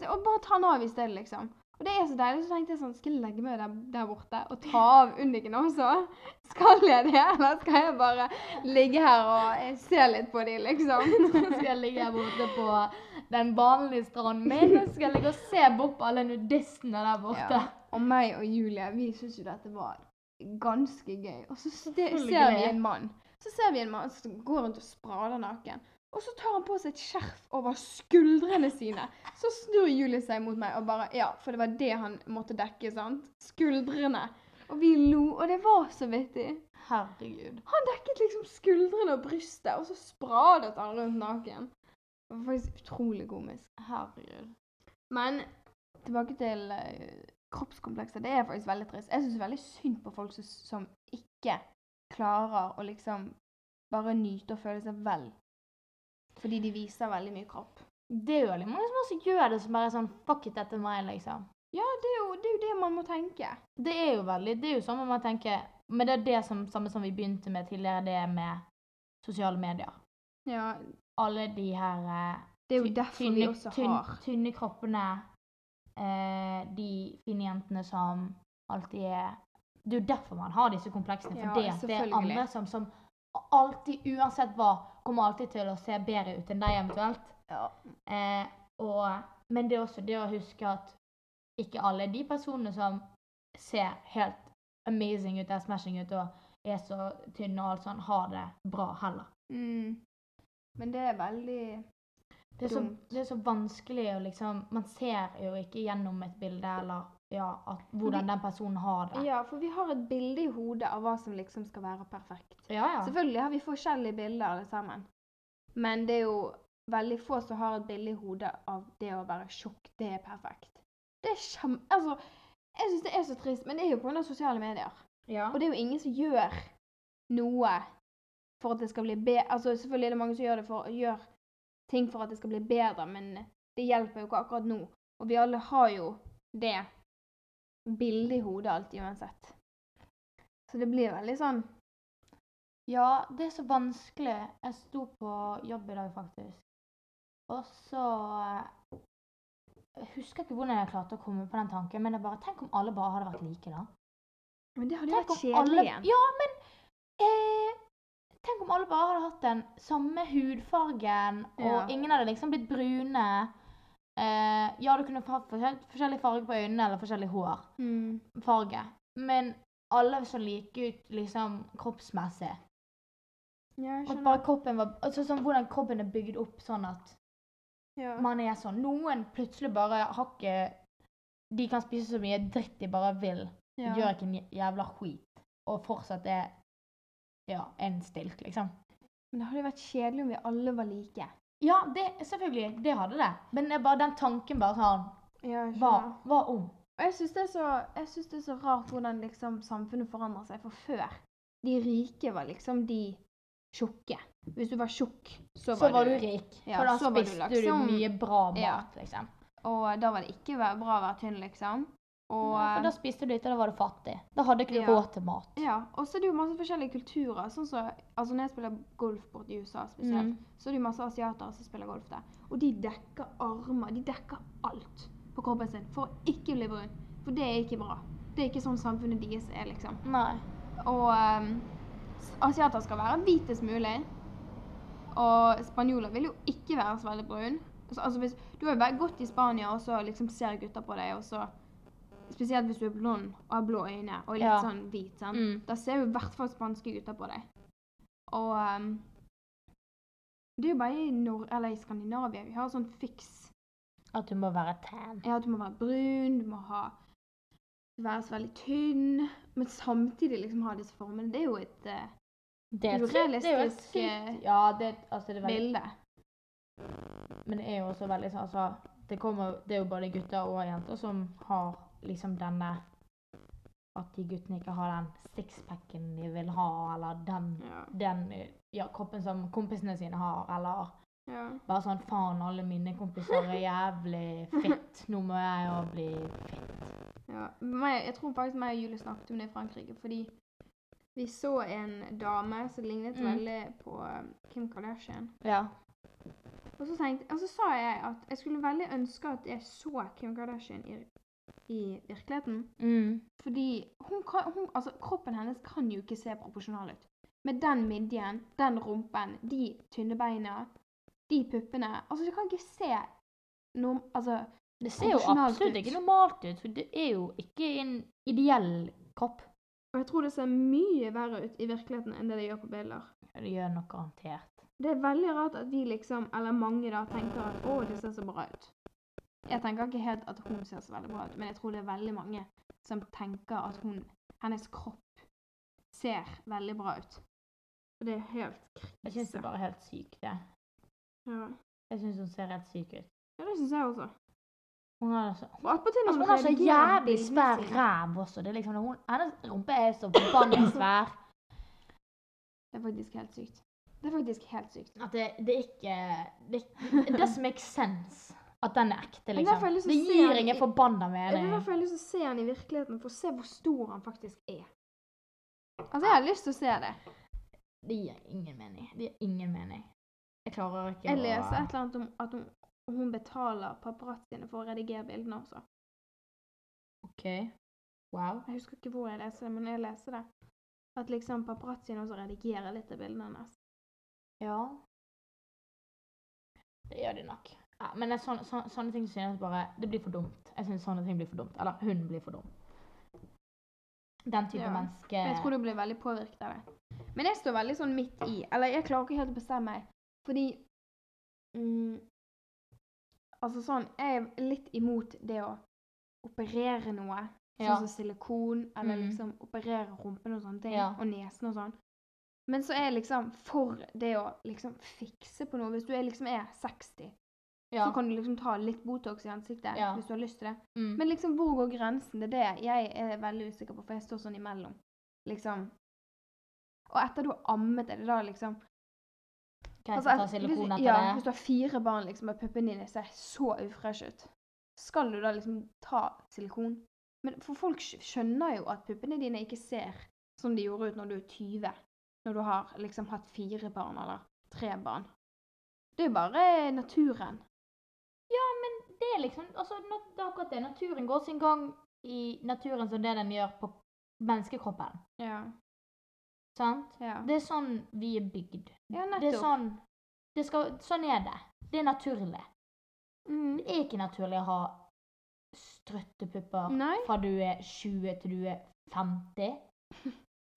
Og bare ta den av i stedet, liksom. Og det er så deilig. Så tenkte jeg sånn Skal jeg legge meg der, der borte og ta av undiken også? Skal jeg det, eller skal jeg bare ligge her og eh, se litt på de, liksom? skal jeg ligge her borte på den vanlige stranden min, og skal jeg ligge og se bort på alle nudistene der borte. Ja. Og meg og Julie, vi syns jo dette var ganske gøy. Og så ste- Selvfølgelig. ser vi en mann. Så ser vi en mann som går rundt og sprader naken. Og så tar han på seg et skjerf over skuldrene sine. Så snur Julie seg mot meg og bare Ja, for det var det han måtte dekke, sant? Skuldrene. Og vi lo, og det var så vittig. Herregud. Han dekket liksom skuldrene og brystet, og så spradet han rundt naken. Det var faktisk utrolig komisk. Herregud. Men tilbake til eh, kroppskomplekser. Det er faktisk veldig trist. Jeg syns veldig synd på folk som, som ikke klarer å liksom bare nyte og føle seg vel. Fordi de viser veldig mye kropp. Det er jo veldig mange som også gjør det, som bare er sånn Fuck it, dette er meg, liksom. Ja, det er jo det, er jo det man må tenke. Det er jo veldig Det er jo sånn man tenker Men det er det som, samme som vi begynte med tidligere, det med sosiale medier. Ja, alle de her eh, Det er jo ty- derfor tynne, vi også tynn- har Tynne kroppene, eh, de fine jentene som alltid er Det er jo derfor man har disse kompleksene. For Ja, det at det er selvfølgelig. andre som, som alltid, uansett hva, kommer alltid til å se bedre ut enn deg eventuelt. ja. Eh, og, men det er også det å huske at ikke alle de personene som ser helt amazing ut, er smashing ut og er så tynne og alt sånn, har det bra heller. mm. Men det er veldig Det er, så, Dumt. det er så vanskelig å liksom Man ser jo ikke gjennom et bilde eller ja, at, hvordan den personen har det. Ja, for vi har et bilde i hodet av hva som liksom skal være perfekt. Ja, ja. Selvfølgelig har vi forskjellige bilder alle sammen. Men det er jo veldig få som har et bilde i hodet av det å være tjukk. Det er perfekt. Det er kjem... Altså, jeg syns det er så trist, men det er jo pga. sosiale medier. ja. Og det er jo ingen som gjør noe for at det skal bli bedre. Altså, selvfølgelig er det mange som gjør, det for, gjør ting for at det skal bli bedre, men det hjelper jo ikke akkurat nå. Og vi alle har jo det bildet i hodet alltid uansett. Så det blir veldig sånn Ja, det er så vanskelig. Jeg sto på jobb i dag, faktisk. Og så eh, Jeg husker ikke hvordan jeg klarte å komme på den tanken, men jeg bare Tenk om alle bare hadde vært like, da. Men det hadde jo Tenk vært om alle, kjedelig igjen. ja, men eh, Tenk om alle bare hadde hatt den samme hudfargen, og Ja. ingen hadde liksom blitt brune. Eh, ja, du kunne hatt forskjell, forskjellig farge på øynene eller forskjellig hår. Mm. Farge. Men alle så like ut liksom kroppsmessig. Ja, jeg At skjønner. bare kroppen var altså sånn Hvordan kroppen er bygd opp sånn at Ja. man er sånn. Noen plutselig bare har ikke De kan spise så mye dritt de bare vil. Ja. Gjør ikke en jæ- jævla skit. Og fortsatt er ja, en stilk, liksom. Men det hadde jo vært kjedelig om vi alle var like. Ja, det, selvfølgelig. Det hadde det. Men det er bare den tanken bare sånn Ja, jeg Hva, skjønner. hva om? Og jeg syns det, er så- jeg synes det er så rart hvordan liksom samfunnet forandrer seg. For før, de rike var liksom de tjukke. Hvis du var tjukk, så var, Så var, du rik. Ja, for da så var du spiste du, liksom- mye bra mat, Ja. liksom. Og da var det ikke væ- bra å være tynn, liksom. Og eh, ja, for da spiste du ikke, da var du fattig. Da hadde ikke du Ja. råd til mat. ja, og så er det jo masse forskjellige kulturer. sånn som, altså Når jeg spiller golf borte i USA, Mm. spesielt, så er det jo masse asiatere som spiller golf der. Og de dekker armer. De dekker alt på kroppen sin for å ikke bli brun. For det er ikke bra. Det er ikke sånn samfunnet deres er, liksom. Nei. Og ehm, s- asiater skal være hvitest mulig. Og spanjoler vil jo ikke være så veldig brun. Altså, altså hvis, du har jo vært gått i Spania, og så liksom ser gutter på deg, og så Spesielt hvis du er blond og har blå øyne og er litt Ja. sånn hvit. sant? Mm. Da ser jo i hvert fall spanske gutter på deg. Og ehm, Det er jo bare i, Nor eller i Skandinavia vi har sånn fiks At du må være tan. ja, du må være brun, du må ha være så veldig tynn, men samtidig liksom ha disse formene. Det er jo et eh, Det er, sykt- det er jo et Urealistisk, sykt Ja, det, altså, det er veldig bilde. Men det er jo også veldig sånn altså, det, kommer, det er jo både gutter og jenter som har liksom denne At de guttene ikke har den sixpacken de vil ha, eller den, Ja. den ja, kroppen som kompisene sine har, eller Ja. bare sånn Faen, alle mine kompiser er jævlig fitt. Nå må jeg jo bli fitt. Ja. Meg, jeg tror faktisk meg og Julie snakket om det i Frankrike, fordi vi så en dame som lignet Mm. veldig på eh, Kim Kardashian. Ja. Og så, tenkte, og så sa jeg at jeg skulle veldig ønske at jeg så Kim Kardashian i, i virkeligheten. Mm. Fordi hun kan, hun, altså, kroppen hennes kan jo ikke se proporsjonal ut. Med den midjen, den rumpen, de tynne beina, de puppene Altså, du kan ikke se noe Altså, Det ser jo Proporsjonalt absolutt ut. ikke normalt ut, for det er jo ikke en ideell kropp. og jeg tror det ser mye verre ut i virkeligheten enn det det gjør på bilder. Det gjør nok garantert. Det er veldig rart at vi liksom, eller mange da, tenker at å, det ser så bra ut. Jeg tenker ikke helt at hun ser så veldig bra ut, men jeg tror det er veldig mange som tenker at hun, hennes kropp ser veldig bra ut. Og det er helt Jeg syns det er bare helt sykt, det. Ja. Jeg syns hun ser helt syk ut. Ja, det syns jeg også. Hun har så, Og attpåtil altså, hun har så jævlig svær ræv også. Det er liksom, hun, hennes rumpe er så forbanna svær Det er faktisk helt sykt. Det er faktisk helt sykt. at det, det er ikke det, it doesn't make sense at den er ekte, Men derfor liksom. har jeg lyst til Det å se gir den i- ingen forbanna Det er mening. derfor jeg har lyst til å se han i virkeligheten, for å se hvor stor han faktisk er. Altså, jeg har lyst til å se det. Det gir ingen mening. Det gir ingen mening. Jeg klarer ikke Jeg å- leser et eller annet om at hun, hun betaler paparazziene for å redigere bildene også. OK. Wow. Jeg husker ikke hvor jeg leser det, men jeg leser det. At liksom paparazziene også redigerer litt av bildene hennes. Ja. Det gjør de nok. Ja, men det er sånne, sånne, sånne ting synes jeg bare Det blir for dumt. Jeg synes sånne ting blir for dumt. Eller hun blir for dum. Den type Ja. menneske Men Jeg tror du blir veldig påvirket av det. Men jeg står veldig sånn midt i. Eller jeg klarer ikke helt å bestemme meg. Fordi mm, Altså sånn, jeg er litt imot det å operere noe. Ja. Sånn som silikon, eller Mm. liksom operere rumpen og sånne ting. Ja. Og nesen og sånn. Men så er jeg liksom for det å liksom fikse på noe. Hvis du er liksom er 60, ja. så kan du liksom ta litt Botox i ansiktet Ja. hvis du har lyst til det. mm. Men liksom, hvor går grensen? Det er det jeg er veldig usikker på, for jeg står sånn imellom. Liksom. Og etter du har ammet, er det da liksom Greit altså, å ta et- hvis, silikon etter ja, det. Hvis du har fire barn liksom, og puppene dine ser så ufresh ut, skal du da liksom ta silikon? Men for folk skj- skjønner jo at puppene dine ikke ser som de gjorde ut når du er 20. Når du har liksom hatt fire barn eller tre barn. Det er jo bare naturen. det er liksom altså, na- Det er akkurat det. Naturen går sin gang i naturen som det den gjør på menneskekroppen. Ja. Sant? Ja, Det er sånn vi er bygd. ja nettopp. Det er sånn det skal, Sånn er det. Det er naturlig. Mm. Det er ikke naturlig å ha strøttepupper Nei. fra du er 20 til du er 50.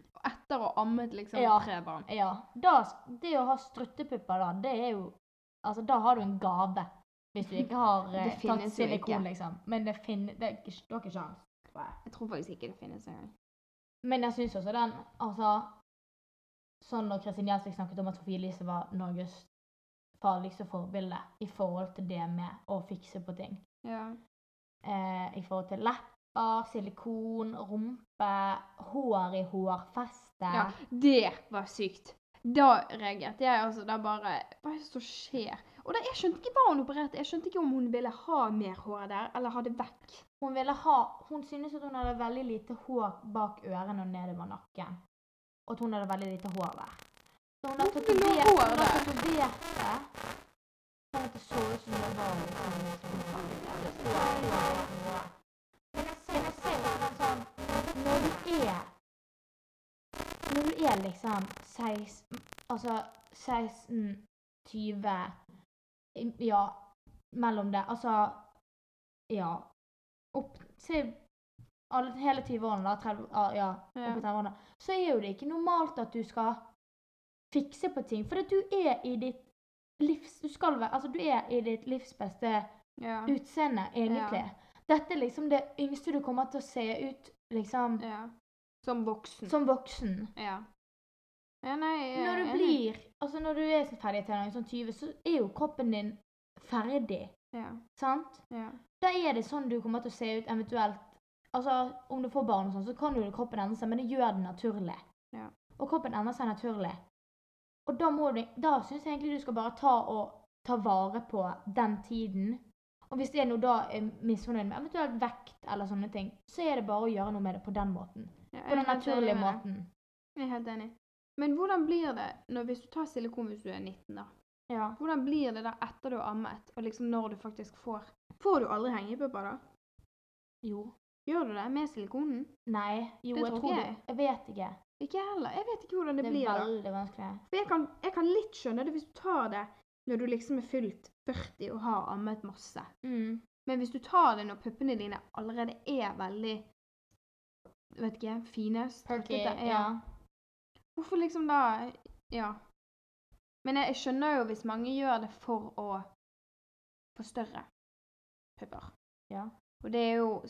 Og etter å ha ammet liksom Ja. tre barn. Ja. Da, det å ha strøttepupper, da, det er jo Altså, da har du en gave. Hvis du ikke har eh, Det tatt finnes jo silikon, ikke. liksom. Men det finnes Det er ikke, du har ikke sjans. tror jeg. Jeg tror faktisk ikke det finnes engang. Men jeg syns også den Altså Sånn når Kristin Gjelsvik snakket om at Sofie Elise var Norges farligste forbilde i forhold til det med å fikse på ting. Ja. Eh, I forhold til lepper, silikon, rumpe, hår i hårfeste. ja. Det var sykt. Da reagerte jeg altså da bare Hva er det som skjer? Og da, Jeg skjønte ikke hva hun opererte. Jeg skjønte ikke om hun ville ha mer hår der, eller ha det vekk. Hun ville ha Hun syntes at hun hadde veldig lite hår bak ørene og nedover nakken. Og at hun hadde veldig lite hår der. Så hun har Hvorfor vil hun ha hår tatovert der? det sånn at det så ut som det var sånn- sånn- Men jeg ser- jeg ser jo sånn- sånn, Når du er Når du er liksom 16 Altså 16, 20 i- Ja, mellom det. Altså Ja. Opp til alle, hele 20-årene, da. 30, ah, ja, Ja. opp til 30 årene. Så er jo det ikke normalt at du skal fikse på ting. For at du er i ditt livs... Du skal være Altså, du er i ditt livs beste Ja. utseende, egentlig. Dette er liksom det yngste du kommer til å se ut liksom ja. Som voksen. som voksen. Ja. ja. Nei jeg er Når du enig. blir Altså, når du er sånn ferdig til sånn 20, så er jo kroppen din ferdig, Ja. sant? ja. Da er det sånn du kommer til å se ut eventuelt Altså, om du får barn og sånn, så kan jo kroppen endre seg, men det gjør den naturlig. Ja. Og kroppen endrer seg naturlig. Og da må du Da syns jeg egentlig du skal bare ta og ta vare på den tiden. Og hvis det er noe da er misfornøyd med, eventuelt vekt eller sånne ting, så er det bare å gjøre noe med det på den måten. Ja, jeg På den er helt enig naturlige med deg. måten. Jeg er helt enig. Men hvordan blir det når, hvis du tar silikon hvis du er 19, da? Ja. Hvordan blir det da etter du har ammet, og liksom når du faktisk får Får du aldri hengepupper, da? Jo. Gjør du det med silikonen? Nei. Jo, Det jeg tror tror ikke det. jeg. Jeg vet ikke. Ikke jeg heller. Jeg vet ikke hvordan det, Det blir. er da. veldig vanskelig. For jeg kan, jeg kan litt skjønne det hvis du tar det når du liksom er fylt 40 og har ammet masse. Mm. Men hvis du tar det når puppene dine allerede er veldig Vet ikke Fine. Perky. struttete, Ja. Hvorfor liksom da Ja. Men jeg, jeg skjønner jo hvis mange gjør det for å få større pupper. Ja. Og det er jo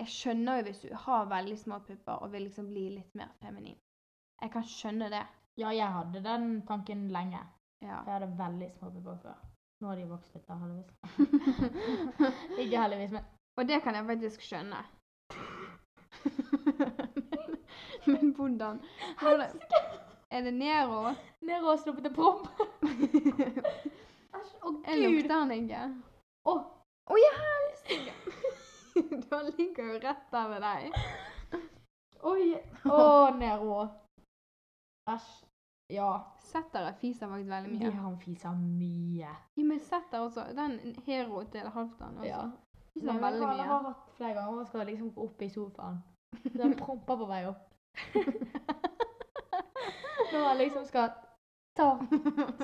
Jeg skjønner jo hvis du har veldig små pupper og vil liksom bli litt mer feminin. Jeg kan skjønne det. ja, jeg hadde den tanken lenge. Ja. For jeg hadde veldig små pupper før. Nå har de vokst litt, da, heldigvis. ikke heldigvis, men Og det kan jeg faktisk skjønne. men, men hvordan? hvordan Er det Nero? Nero har sluppet en propp. Æsj, Å, Jeg gud! lukter han ikke. Å, Å ja, han ligger jo rett der ved deg. oi! Å, Nero. Æsj. Ja. Setter fiser faktisk veldig De mye. har fisa mye. Ja, men setter også Den Hero til Halvdan også. Ja. Fiser Nei, men veldig faen, Jeg mye. har hatt flere ganger og skal liksom gå opp i sofaen. Den promper på vei opp. Når han liksom skal ta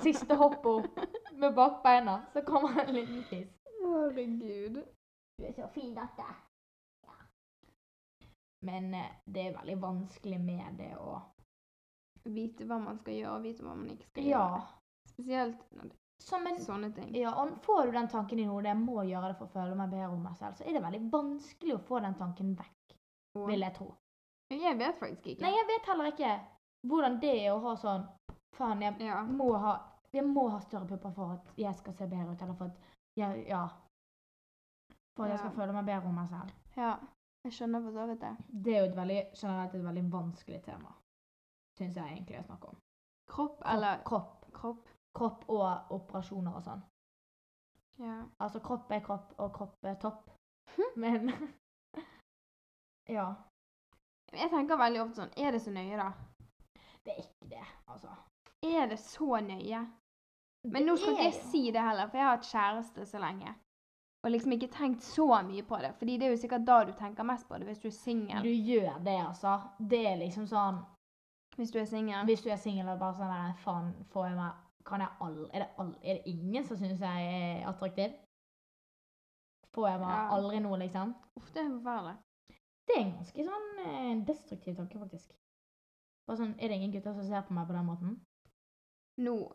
siste hoppet opp med bakbeina, så kommer en liten fisk. Herregud. Du er så fin, dette. Men eh, det er veldig vanskelig med det å Vite hva man skal gjøre, og vite hva man ikke skal gjøre. Ja. Spesielt når det Som en er sånne ting. Ja, og får du den tanken i hodet, jeg må gjøre det for å føle meg bedre om meg selv, så er det veldig vanskelig å få den tanken vekk, Og- vil jeg tro. Jeg vet faktisk ikke. Nei, jeg vet heller ikke hvordan det er å ha sånn Faen, jeg Ja. må ha, jeg må ha større pupper for at jeg skal se bedre ut, eller for at jeg Ja. For at jeg skal Ja. føle meg bedre om meg selv. ja. Jeg skjønner for så vidt det. Det er jo et veldig, generelt et veldig vanskelig tema, syns jeg egentlig å snakke om. Kropp Kropp, eller kropp, kropp. kropp og operasjoner og sånn. Ja. Altså, kropp er kropp, og kropp er topp. Hm? Men Ja. Jeg tenker veldig ofte sånn Er det så nøye, da? Det er ikke det, altså. Er det så nøye? Men nå skal Det ikke er jeg jo- si det heller, for jeg har hatt kjæreste så lenge. Og liksom ikke tenkt så mye på det. Fordi det er jo sikkert da du tenker mest på det, hvis du er Du singel. gjør det, altså. Det er liksom sånn Hvis du er singel. Hvis du er singel og bare sånn der, Faen, får jeg meg Kan jeg all, er, det all, er det ingen som syns jeg er attraktiv? Får jeg meg Ja. aldri noe, liksom? Uff, det er forferdelig. Det er en ganske sånn eh, destruktiv tanke, faktisk. Bare sånn, Er det ingen gutter som ser på meg på den måten? Nå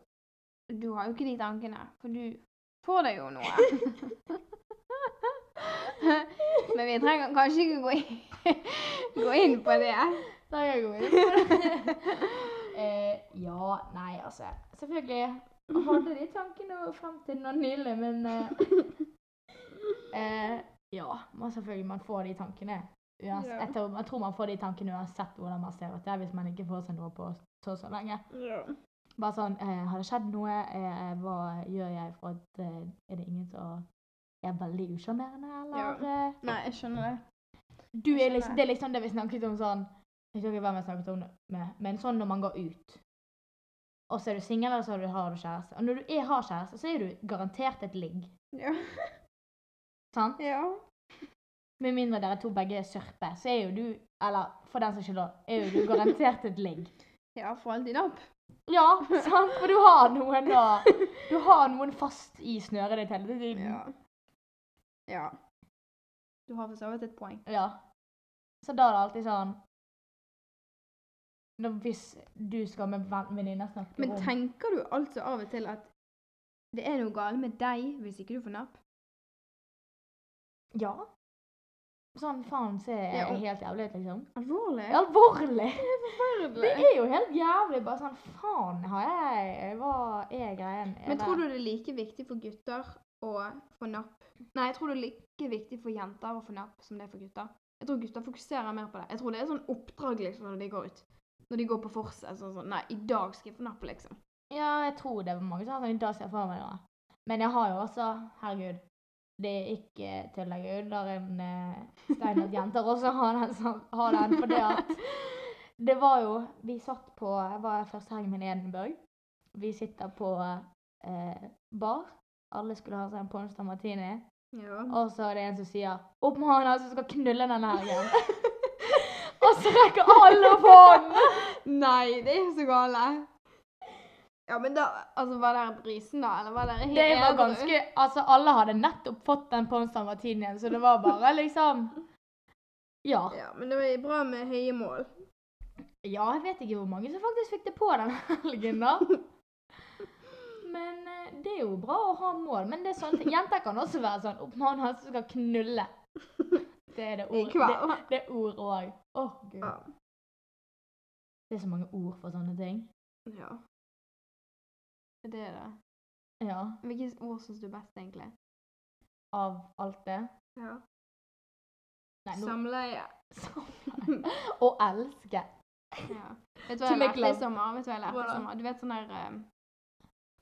Du har jo ikke de tankene, for du får deg jo noe. Men vi trenger kanskje ikke gå inn, gå inn på det. Da er jeg god det. eh, ja, nei, altså. Selvfølgelig. Hadde de tankene frem til nå nylig, men eh, eh, Ja, man selvfølgelig man får de tankene. Uans, Ja. jeg, tror, jeg tror man får de tankene uansett hvordan man ser ut det er, hvis man ikke får seg noe på så så lenge. Bare sånn eh, Har det skjedd noe? Eh, hva gjør jeg for at eh, Er det ingen som er veldig usjarmerende, eller? eh, Nei, jeg skjønner det. du er Skjønner liksom, det er liksom det vi snakket om sånn Jeg vet ikke hvem jeg snakket om det med, men sånn når man går ut. Og så er du singel, eller så har du, har du kjæreste. Og når du er, har kjæreste, så er du garantert et ligg. Ja. Sant? ja. Med mindre dere to begge er sørpe, så er jo du Eller for den saks skyld, da, er jo du garantert et ligg. Ja, for alltid opp. Ja, sant? For du har noen da Du har noen fast i snøret ditt hele tiden. Ja. ja. Mhm. Du har for så vidt et poeng. Ja. Så da er det alltid sånn når, Hvis du skal med ven- venninner snakke Men om tenker du altså av og til at det er noe galt med deg hvis ikke du får napp? Ja. Sånn faen ser jeg Ja, og- helt jævlig ut, liksom. Alvorlig? Alvorlig! Det forferdelig. er jo helt jævlig. Bare sånn faen har jeg Hva er greien? Er Men det- tror du det er like viktig for gutter å få napp Nei, jeg tror det er like viktig for jenter å få napp som det er for gutter. Jeg tror gutter fokuserer mer på det. Jeg tror det er sånn oppdrag liksom når de går ut. Når de går på forset. Sånn sånn Nei, i dag skal jeg få napp, liksom. Ja, jeg tror det var mange som har sånn i dag ser jeg for meg noe. Men jeg har jo også Herregud. Det er ikke til å legge under en eh, stein at jenter også har den, som- har den for det at Det var jo Vi satt på Jeg var første helgen min i Edinburgh. Vi sitter på eh, bar. Alle skulle ha seg en Ponsta Martini. Ja. Og så er det en som sier 'Opp med hånda som skal knulle denne helgen'. og så rekker alle opp hånden! Nei, det er så gale. Ja, men da Altså, var det brisen, da? Eller var det Det var ganske Altså, alle hadde nettopp fått den Ponsta Martinien, så det var bare liksom Ja. Ja, men det var bra med høye mål. Ja, jeg vet ikke hvor mange som faktisk fikk det på den helgen, da. Men eh, det er jo bra å ha mål. Men det er sånn, jenter kan også være sånn 'Opp med hånda som skal knulle'. Det er det I ord. kveld. Det, det er ord òg. Å, gud. Ja. Det er så mange ord for sånne ting. ja. Det er det. Ja. Hvilke ord syns du er best, egentlig? Av alt det. Ja. Nei, nå Samleie. Å elske. Ja. Vet du To hva jeg lærte make i love. sommer? Vet du hva jeg lærte Hva da? i sommer? Du vet sånn der eh,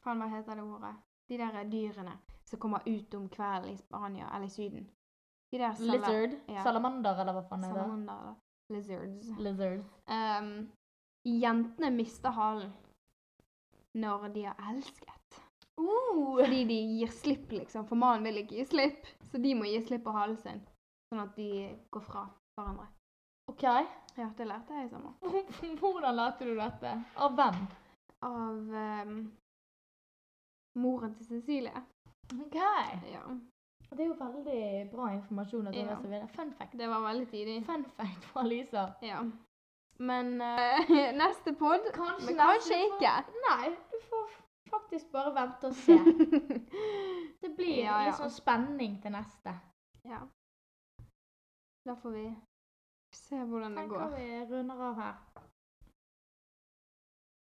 Faen, hva heter det ordet? De der eh, dyrene som kommer ut om kvelden i Spania eller i Syden. De der sala- Lizard. Ja. Salamander, eller hva faen er det? salamander eller lizards. Lizard. Ehm, jentene mister halen. når de har elsket. Uh. Fordi de gir slipp, liksom. For mannen vil ikke gi slipp. Så de må gi slipp på halen sin. Sånn at de går fra hverandre. OK. Ja, det lærte jeg i sommer. Hvordan lærte du dette? Av hvem? Av ehm, moren til Cecilie. OK. Ja. Det er jo veldig bra informasjon. sånn, at du Ja. har servert. Fun fact. Det var veldig tidlig. Fun fact fra Lisa. Ja. Men eh, neste pod Kanskje, Men kanskje ikke. Nei, du får faktisk bare vente og se. Det blir Ja, ja. litt sånn spenning til neste. ja. Da får vi se hvordan det Tenker går. vi runder av her.